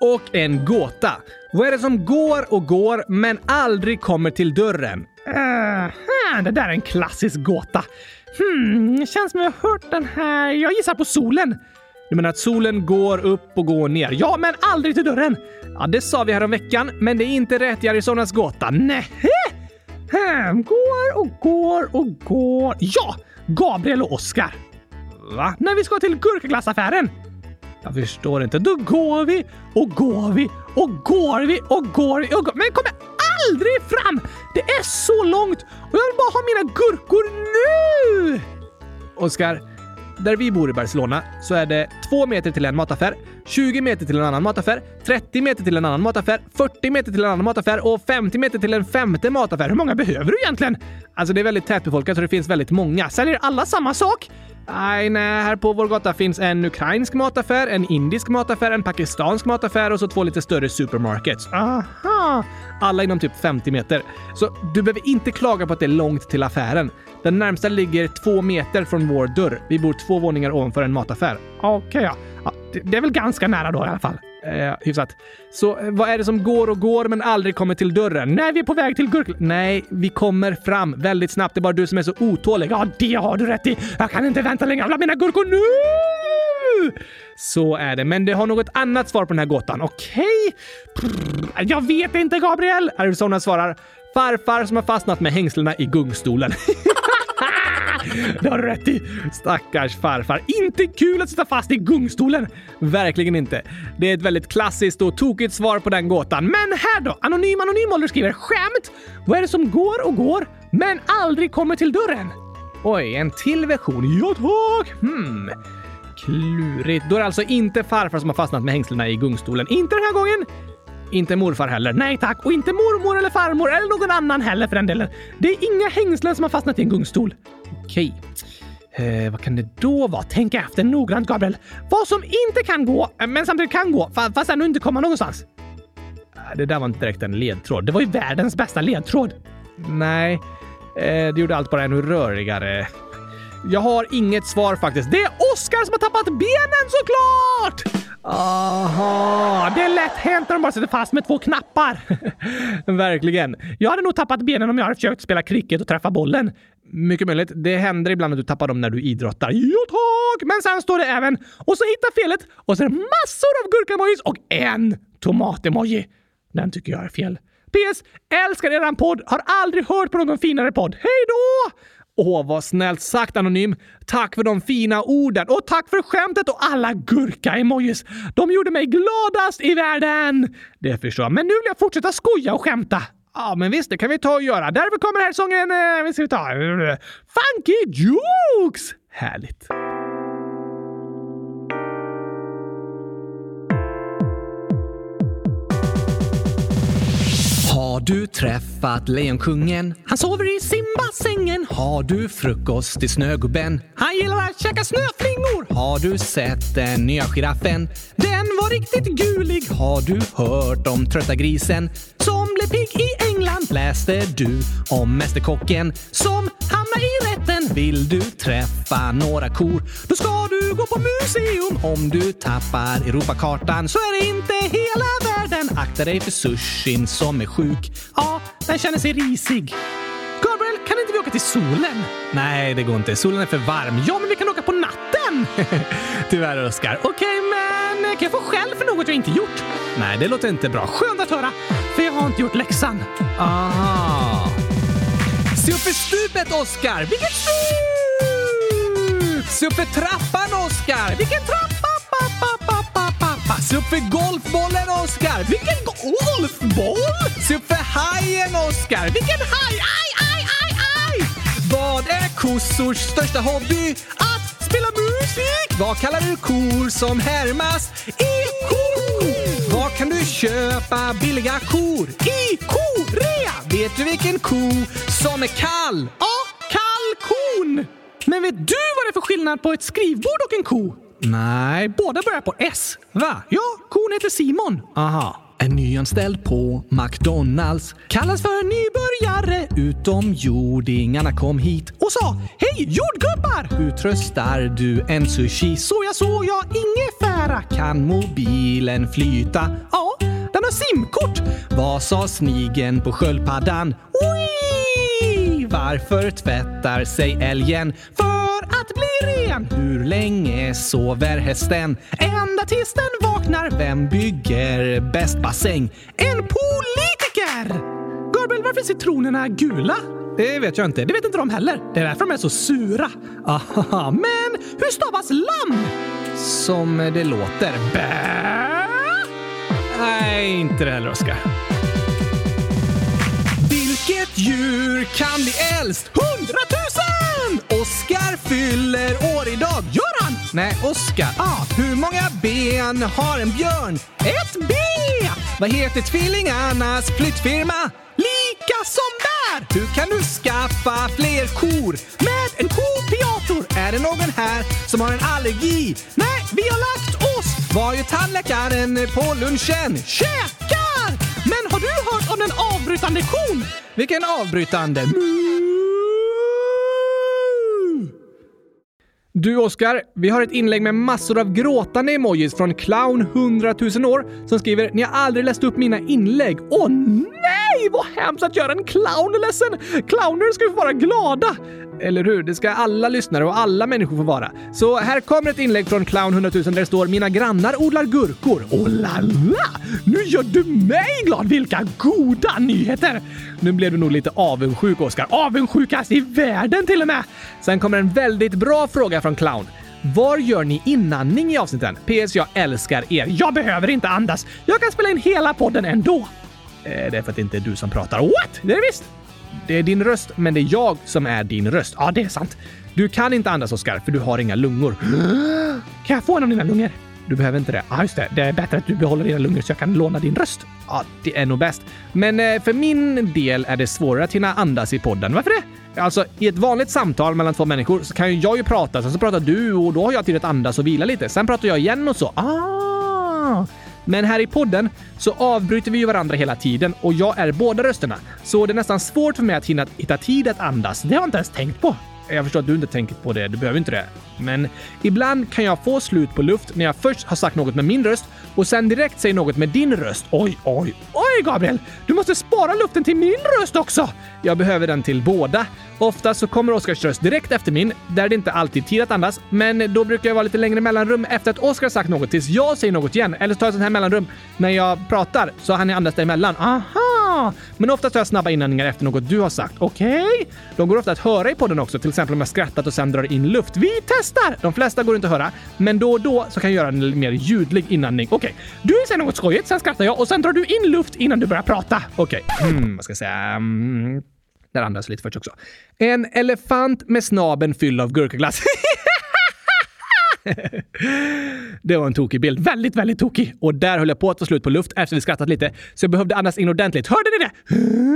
Speaker 2: Och en gåta. Vad är det som går och går men aldrig kommer till dörren? Uh, det där är en klassisk gåta. Hmm, känns som jag har hört den här. Jag gissar på solen. Du menar att solen går upp och går ner? Ja, men aldrig till dörren! Ja, det sa vi häromveckan, men det är inte rätt i Arizonas gåta. Nähä? Hmm, går och går och går. Ja! Gabriel och Oskar. Va? När vi ska till gurkaglassaffären. Jag förstår inte. Då går vi och går vi och går vi och går vi och går. Men kommer aldrig fram! Det är så långt och jag vill bara ha mina gurkor nu! Oskar, där vi bor i Barcelona så är det 2 meter till en mataffär, 20 meter till en annan mataffär, 30 meter till en annan mataffär, 40 meter till en annan mataffär och 50 meter till en femte mataffär. Hur många behöver du egentligen? Alltså det är väldigt tätbefolkat så det finns väldigt många. Säljer alla samma sak? Nej, nej, här på vår gata finns en ukrainsk mataffär, en indisk mataffär, en pakistansk mataffär och så två lite större supermarkets. Aha! Alla inom typ 50 meter. Så du behöver inte klaga på att det är långt till affären. Den närmsta ligger två meter från vår dörr. Vi bor två våningar ovanför en mataffär. Okej, ja. ja. det- Det är väl ganska nära då i alla fall. Eh, hyfsat. Så eh, vad är det som går och går men aldrig kommer till dörren? Nej, vi är på väg till gurk... Nej, vi kommer fram väldigt snabbt. Det är bara du som är så otålig. Ja, det har du rätt i. Jag kan inte vänta längre. Jag vill ha mina gurkor nu! Så är det, men det har något annat svar på den här gåtan. Okej? Prr, Jag vet inte, Gabriel! Arizona svarar. Farfar som har fastnat med hängslena i gungstolen. Det har du rätt i. Stackars farfar. Inte kul att sitta fast i gungstolen. Verkligen inte. Det är ett väldigt klassiskt och tokigt svar på den gåtan. Men här då! Anonym Anonym Ålder skriver skämt. Vad är det som går och går men aldrig kommer till dörren? Oj, en till version. Ja tack! Hmm. Klurigt. Då är det alltså inte farfar som har fastnat med hängslena i gungstolen. Inte den här gången. Inte morfar heller. Nej tack. Och inte mormor eller farmor eller någon annan heller för den delen. Det är inga hängslen som har fastnat i en gungstol. Okej. Eh, vad kan det då vara? Tänk efter noggrant, Gabriel. Vad som inte kan gå, eh, men samtidigt kan gå, fa- fast ändå inte komma någonstans. Eh, Det där var inte direkt en ledtråd. Det var ju världens bästa ledtråd. Nej, eh, det gjorde allt bara ännu rörigare. Jag har inget svar faktiskt. Det är Oskar som har tappat benen såklart! Aha, det är lätt hänt när de bara sitter fast med två knappar. Verkligen. Jag hade nog tappat benen om jag hade försökt spela cricket och träffa bollen. Mycket möjligt. Det händer ibland att du tappar dem när du idrottar. Jo tack! Men sen står det även och så hitta felet och så är det massor av gurkamojis och en tomatemoji. Den tycker jag är fel. PS. Älskar eran podd. Har aldrig hört på någon finare podd. Hej då!
Speaker 4: Åh, vad snällt sagt Anonym. Tack för de fina orden och tack för skämtet och alla gurka-emojis. De gjorde mig gladast i världen! Det förstår jag, men nu vill jag fortsätta skoja och skämta. Ja, men visst, det kan vi ta och göra. Därför kommer här sången... Eh, vad ska vi ta? Funky Jokes! Härligt.
Speaker 2: Har du träffat lejonkungen? Han sover i simbassängen. Har du frukost i snögubben? Han gillar att käka snöflingor. Har du sett den nya giraffen? Den var riktigt gulig. Har du hört om trötta grisen? Som blev pigg i England. Läste du om Mästerkocken? Som hamnade i rätten. Vill du träffa några kor? Då ska du gå på museum. Om du tappar Europakartan så är det inte hela världen. Akta dig för sushin som är sjuk.
Speaker 5: Ja, den känner sig risig. Gabriel, kan inte vi åka till solen?
Speaker 2: Nej, det går inte. Solen är för varm.
Speaker 5: Ja, men vi kan åka på natten!
Speaker 2: Tyvärr, Oskar.
Speaker 5: Okej, men kan jag få skäll för något jag inte gjort?
Speaker 2: Nej, det låter inte bra.
Speaker 5: Skönt att höra, för jag har inte gjort läxan.
Speaker 2: Aha. Se upp för stupet, Oskar! Vilket stup! Se upp för trappan, Oskar! Vilken trappa! Pa, pa, pa, pa, pa, pa. Se upp för golfbollen, Oskar! Vilken golfboll! Se upp för hajen, Oskar! Vilken haj! Aj, aj, aj, aj! Vad är kossors största hobby? Att spela musik! Vad kallar du kor som härmas? I-kor! Var kan du köpa billiga kor? I Korea! Vet du vilken ko som är kall?
Speaker 5: Ja, kalkon! Men vet du vad det är för skillnad på ett skrivbord och en ko?
Speaker 2: Nej,
Speaker 5: Båda börjar på S.
Speaker 2: va?
Speaker 5: Ja, kon heter Simon.
Speaker 2: Aha. En nyanställd på McDonalds kallas för nybörjare. Utomjordingarna kom hit och sa Hej jordgubbar! Hur tröstar du en sushi? Så jag såg jag ingefära. Kan mobilen flyta? Ja, den har simkort. Vad sa snigen på sköldpaddan? Oi! Varför tvättar sig älgen? För att bli ren! Hur länge sover hästen? Ända tills den vaknar. Vem bygger bäst bassäng? En politiker!
Speaker 5: Gabriel, varför är citronerna gula?
Speaker 2: Det vet jag inte.
Speaker 5: Det vet inte de heller. Det är därför de är så sura.
Speaker 2: Aha,
Speaker 5: Men hur stavas lamm?
Speaker 2: som det låter. Bä? Nej, inte det heller, Oskar. Vilket djur kan bli äldst? Hundratusen! Oskar fyller år idag. Gör han? Nej, Oskar. Ah, hur många ben har en björn? Ett B! Vad heter tvillingarnas flyttfirma? Lika som bär! Hur kan du skaffa fler kor? Med en kopiator! Är det någon här som har en allergi? Nej, vi har lagt oss! Var ju tandläkaren på lunchen? Käkar! Men har du hört om den avbrytande kon? Vilken avbrytande? Mm.
Speaker 4: Du Oskar, vi har ett inlägg med massor av gråtande emojis från clown 100 000 år som skriver “Ni har aldrig läst upp mina inlägg”. Åh nej, vad hemskt att göra en clown ledsen! Clowner ska ju få vara glada! Eller hur? Det ska alla lyssnare och alla människor få vara. Så här kommer ett inlägg från clown 100 000 där det står “Mina grannar odlar gurkor”. Åh la la! Nu gör du mig glad! Vilka goda nyheter! Nu blev du nog lite avundsjuk, Oskar. Avundsjukast i världen till och med! Sen kommer en väldigt bra fråga från Clown. Var gör ni inandning i avsnitten? PS. Jag älskar er. Jag behöver inte andas. Jag kan spela in hela podden ändå. Eh, det är för att det inte är du som pratar. What? Det är det visst! Det är din röst, men det är jag som är din röst. Ja, det är sant. Du kan inte andas, Oskar, för du har inga lungor.
Speaker 5: Kan jag få en av dina lungor?
Speaker 4: Du behöver inte det. Ja, just det. Det är bättre att du behåller dina lungor så jag kan låna din röst. Ja, det är nog bäst. Men eh, för min del är det svårare att hinna andas i podden. Varför det? Alltså, i ett vanligt samtal mellan två människor så kan ju jag ju prata, sen så pratar du och då har jag tid att andas och vila lite. Sen pratar jag igen och så. Ah! Men här i podden så avbryter vi ju varandra hela tiden och jag är båda rösterna. Så det är nästan svårt för mig att hinna hitta tid att andas. Det har jag inte ens tänkt på. Jag förstår att du inte tänker på det, du behöver inte det. Men ibland kan jag få slut på luft när jag först har sagt något med min röst och sen direkt säger något med din röst. Oj, oj, oj Gabriel! Du måste spara luften till min röst också! Jag behöver den till båda. Ofta så kommer Oskars röst direkt efter min, där det inte alltid är tid att andas, men då brukar jag vara lite längre mellanrum efter att Oskar sagt något tills jag säger något igen, eller så tar jag sånt här mellanrum när jag pratar så han andas däremellan. Aha!
Speaker 2: Ja, men oftast har jag snabba inandningar efter något du har sagt. Okej? De går ofta att höra i podden också, till exempel om jag skrattat och sen drar in luft. Vi testar! De flesta går inte att höra, men då och då så kan jag göra en mer ljudlig inandning. Okej, du säger något skojigt, sen skrattar jag och sen drar du in luft innan du börjar prata. Okej, hmm, vad ska jag säga? Mm. Där andas lite först också. En elefant med snaben fylld av gurkaglass. Det var en tokig bild. Väldigt, väldigt tokig. Och där höll jag på att få slut på luft efter vi skrattat lite, så jag behövde andas in ordentligt. Hörde ni det?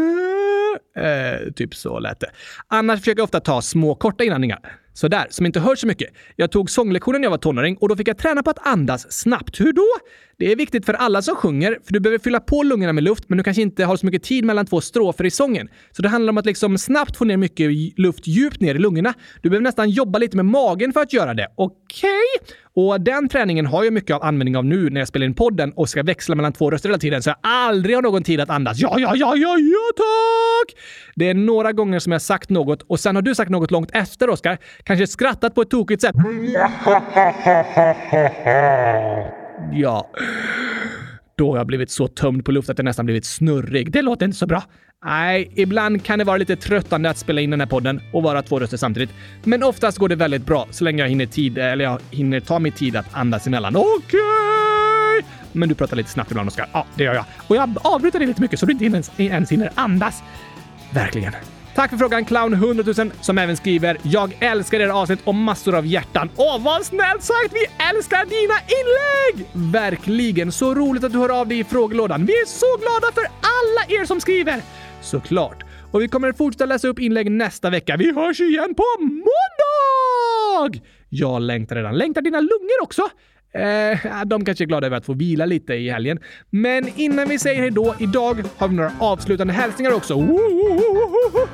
Speaker 2: Eh, typ så lät det. Annars försöker jag ofta ta små, korta inandningar. Sådär, som inte hörs så mycket. Jag tog sånglektioner när jag var tonåring och då fick jag träna på att andas snabbt. Hur då? Det är viktigt för alla som sjunger, för du behöver fylla på lungorna med luft, men du kanske inte har så mycket tid mellan två strofer i sången. Så det handlar om att liksom snabbt få ner mycket luft djupt ner i lungorna. Du behöver nästan jobba lite med magen för att göra det. Okej? Och den träningen har jag mycket av användning av nu när jag spelar in podden och ska växla mellan två röster hela tiden så jag aldrig har någon tid att andas. Ja, ja, ja, ja, ja, tack! Det är några gånger som jag sagt något och sen har du sagt något långt efter, Oskar. Kanske skrattat på ett tokigt sätt. Ja. Då har jag blivit så tömd på luft att jag nästan blivit snurrig. Det låter inte så bra. Nej, ibland kan det vara lite tröttande att spela in den här podden och vara två röster samtidigt. Men oftast går det väldigt bra så länge jag hinner, tid, eller jag hinner ta mig tid att andas emellan. Okej! Men du pratar lite snabbt ibland, Oskar. Ja, det gör jag. Och jag avbryter dig lite mycket så du inte ens, ens hinner andas. Verkligen. Tack för frågan clown 100 000 som även skriver “Jag älskar era avsnitt och massor av hjärtan”. Åh, vad snällt sagt! Vi älskar dina inlägg! Verkligen, så roligt att du hör av dig i frågelådan. Vi är så glada för alla er som skriver! Såklart. Och vi kommer fortsätta läsa upp inlägg nästa vecka. Vi hörs igen på måndag! Jag längtar redan. Längtar dina lungor också? Eh, de kanske är glada över att få vila lite i helgen. Men innan vi säger hejdå, idag har vi några avslutande hälsningar också. Wohohohoho!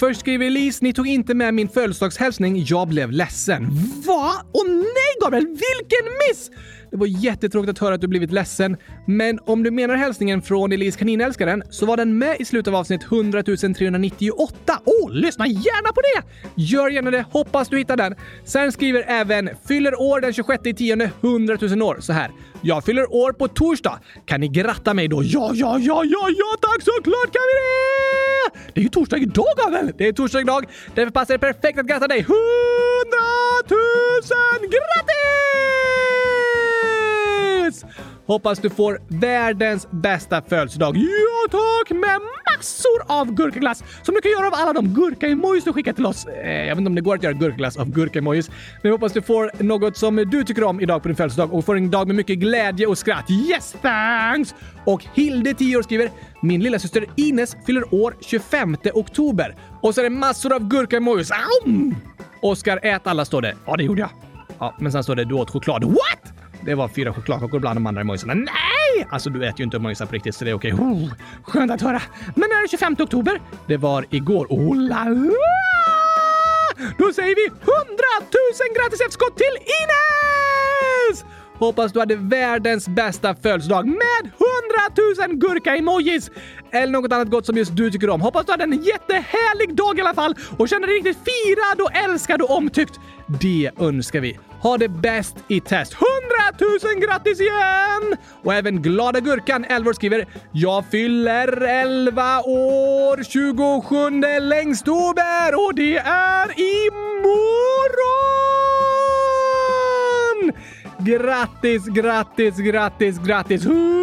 Speaker 2: Först skriver Elise, ni tog inte med min födelsedagshälsning. Jag blev ledsen. Va? Åh nej Gabriel, vilken miss! Det var jättetråkigt att höra att du blivit ledsen, men om du menar hälsningen från Elise kaninälskaren så var den med i slutet av avsnitt 100 398. Åh, lyssna gärna på det! Gör gärna det, hoppas du hittar den. Sen skriver även “Fyller år den 26 10 100 000 år” så här. “Jag fyller år på torsdag. Kan ni gratta mig då?” Ja, ja, ja, ja, ja, tack såklart kan vi det! Det är ju torsdag idag Gabriel! Det är torsdag idag, därför passar det perfekt att gratta dig. 100 000 grattis! Yes! Hoppas du får världens bästa födelsedag. Ja tack! Med massor av gurkaglass som du kan göra av alla de gurka-emojis du skickar till oss. Eh, Jag vet inte om det går att göra gurkaglass av gurka-emojis, men jag hoppas du får något som du tycker om idag på din födelsedag och får en dag med mycket glädje och skratt. Yes thanks! Och Hilde, 10 år, skriver “Min lilla syster Ines fyller år 25 oktober” och så är det massor av gurka-emojis. Aum! Oskar, ät alla står det. Ja, det gjorde jag. Ja, men sen står det du åt choklad. What? Det var fyra chokladkakor bland de andra emojisarna. Nej! Alltså du äter ju inte emojisar på riktigt så det är okej. Oh, skönt att höra. Men när är det 25 oktober? Det var igår. Oh la la! Då säger vi 100 000 gratisefterskott till Ines! Hoppas du hade världens bästa födelsedag med 100 000 gurka-emojis! Eller något annat gott som just du tycker om. Hoppas du hade en jättehärlig dag i alla fall och känner dig riktigt firad och älskad och omtyckt. Det önskar vi. Ha det bäst i test. 100 000 grattis igen! Och även Glada Gurkan, 11 år, skriver “Jag fyller 11 år 27 längstober och det är imorgon!” Grattis, grattis, grattis, grattis! 100 000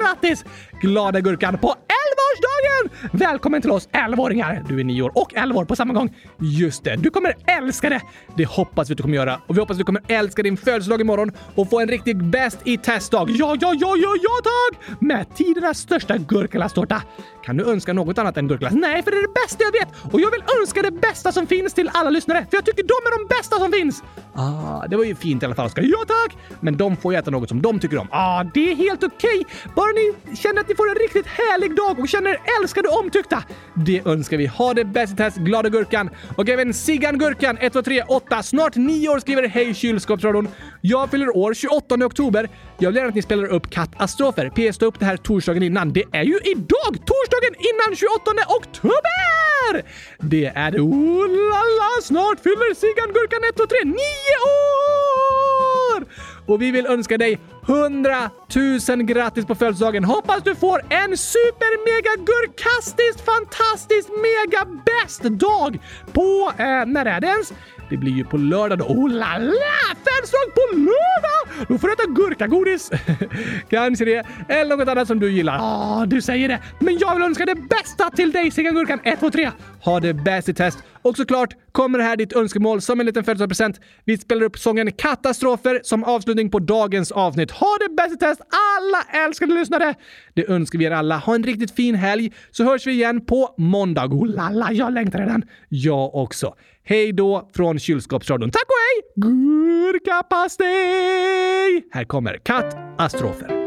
Speaker 2: grattis! Glada Gurkan på 11-årsdagen! Välkommen till oss 11-åringar! Du är 9 år och 11 år på samma gång. Just det, du kommer älska det! Det hoppas vi att du kommer göra och vi hoppas att du kommer älska din födelsedag imorgon och få en riktig bäst i testdag. Ja, ja, ja, ja, ja tack! Med tidernas största gurkalasstårta. Kan du önska något annat än gurkaglass? Nej, för det är det bästa jag vet och jag vill önska det bästa som finns till alla lyssnare för jag tycker de är de bästa som finns. Ah, det var ju fint i alla fall Oskar. Ja tack! Men de får ju äta något som de tycker om. Ah, det är helt okej. Bara ni känner att ni får en riktigt härlig dag och känner er älskade och omtyckta. Det önskar vi. Ha det bäst i test, glada Gurkan. Och även Siggan Gurkan, 1238, snart 9 år, skriver Hej kylskåpsradion. Jag fyller år 28 oktober. Jag vill gärna att ni spelar upp katastrofer. PS, ta upp det här torsdagen innan. Det är ju idag! Torsdagen innan 28 oktober! där! Det är det. Oh, la, la, snart fyller Siggan Gurkan 1 och 3 9 år!
Speaker 6: och vi vill önska dig 100 000 grattis på födelsedagen. Hoppas du får en super mega gurkastiskt fantastisk mega bäst dag på, eh, när är det ens? Det blir ju på lördag då. Oh la la! Födelsedag på lördag! Då får du äta gurkagodis. Kanske det. Eller något annat som du gillar. Ja, ah, du säger det. Men jag vill önska det bästa till dig, Sigga Gurkan 123. Ha det bäst i test. Och såklart kommer här ditt önskemål som en liten födelsedagspresent. Vi spelar upp sången Katastrofer som avslutning på dagens avsnitt. Ha det bäst i test alla älskade lyssnare! Det önskar vi er alla. Ha en riktigt fin helg så hörs vi igen på måndag. Oh la la, jag längtar redan. Jag också. Hej då från kylskåpsradion. Tack och hej! Gurkapastej! Här kommer Katastrofer.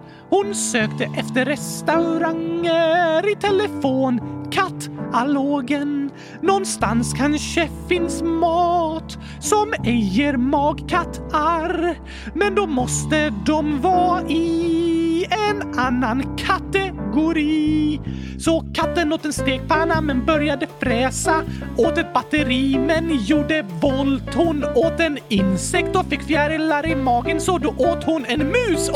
Speaker 2: Hon sökte efter restauranger i telefon. Kattalogen. Någonstans kanske finns mat som ej ger magkattar. Men då måste de vara i en annan kategori. Så katten åt en stekpanna men började fräsa. Åt ett batteri men gjorde volt. Hon åt en insekt och fick fjärilar i magen så då åt hon en mus och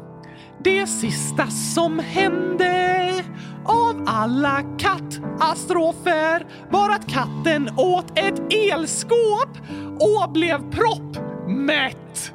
Speaker 2: Det sista som hände av alla kattastrofer var att katten åt ett elskåp och blev proppmätt.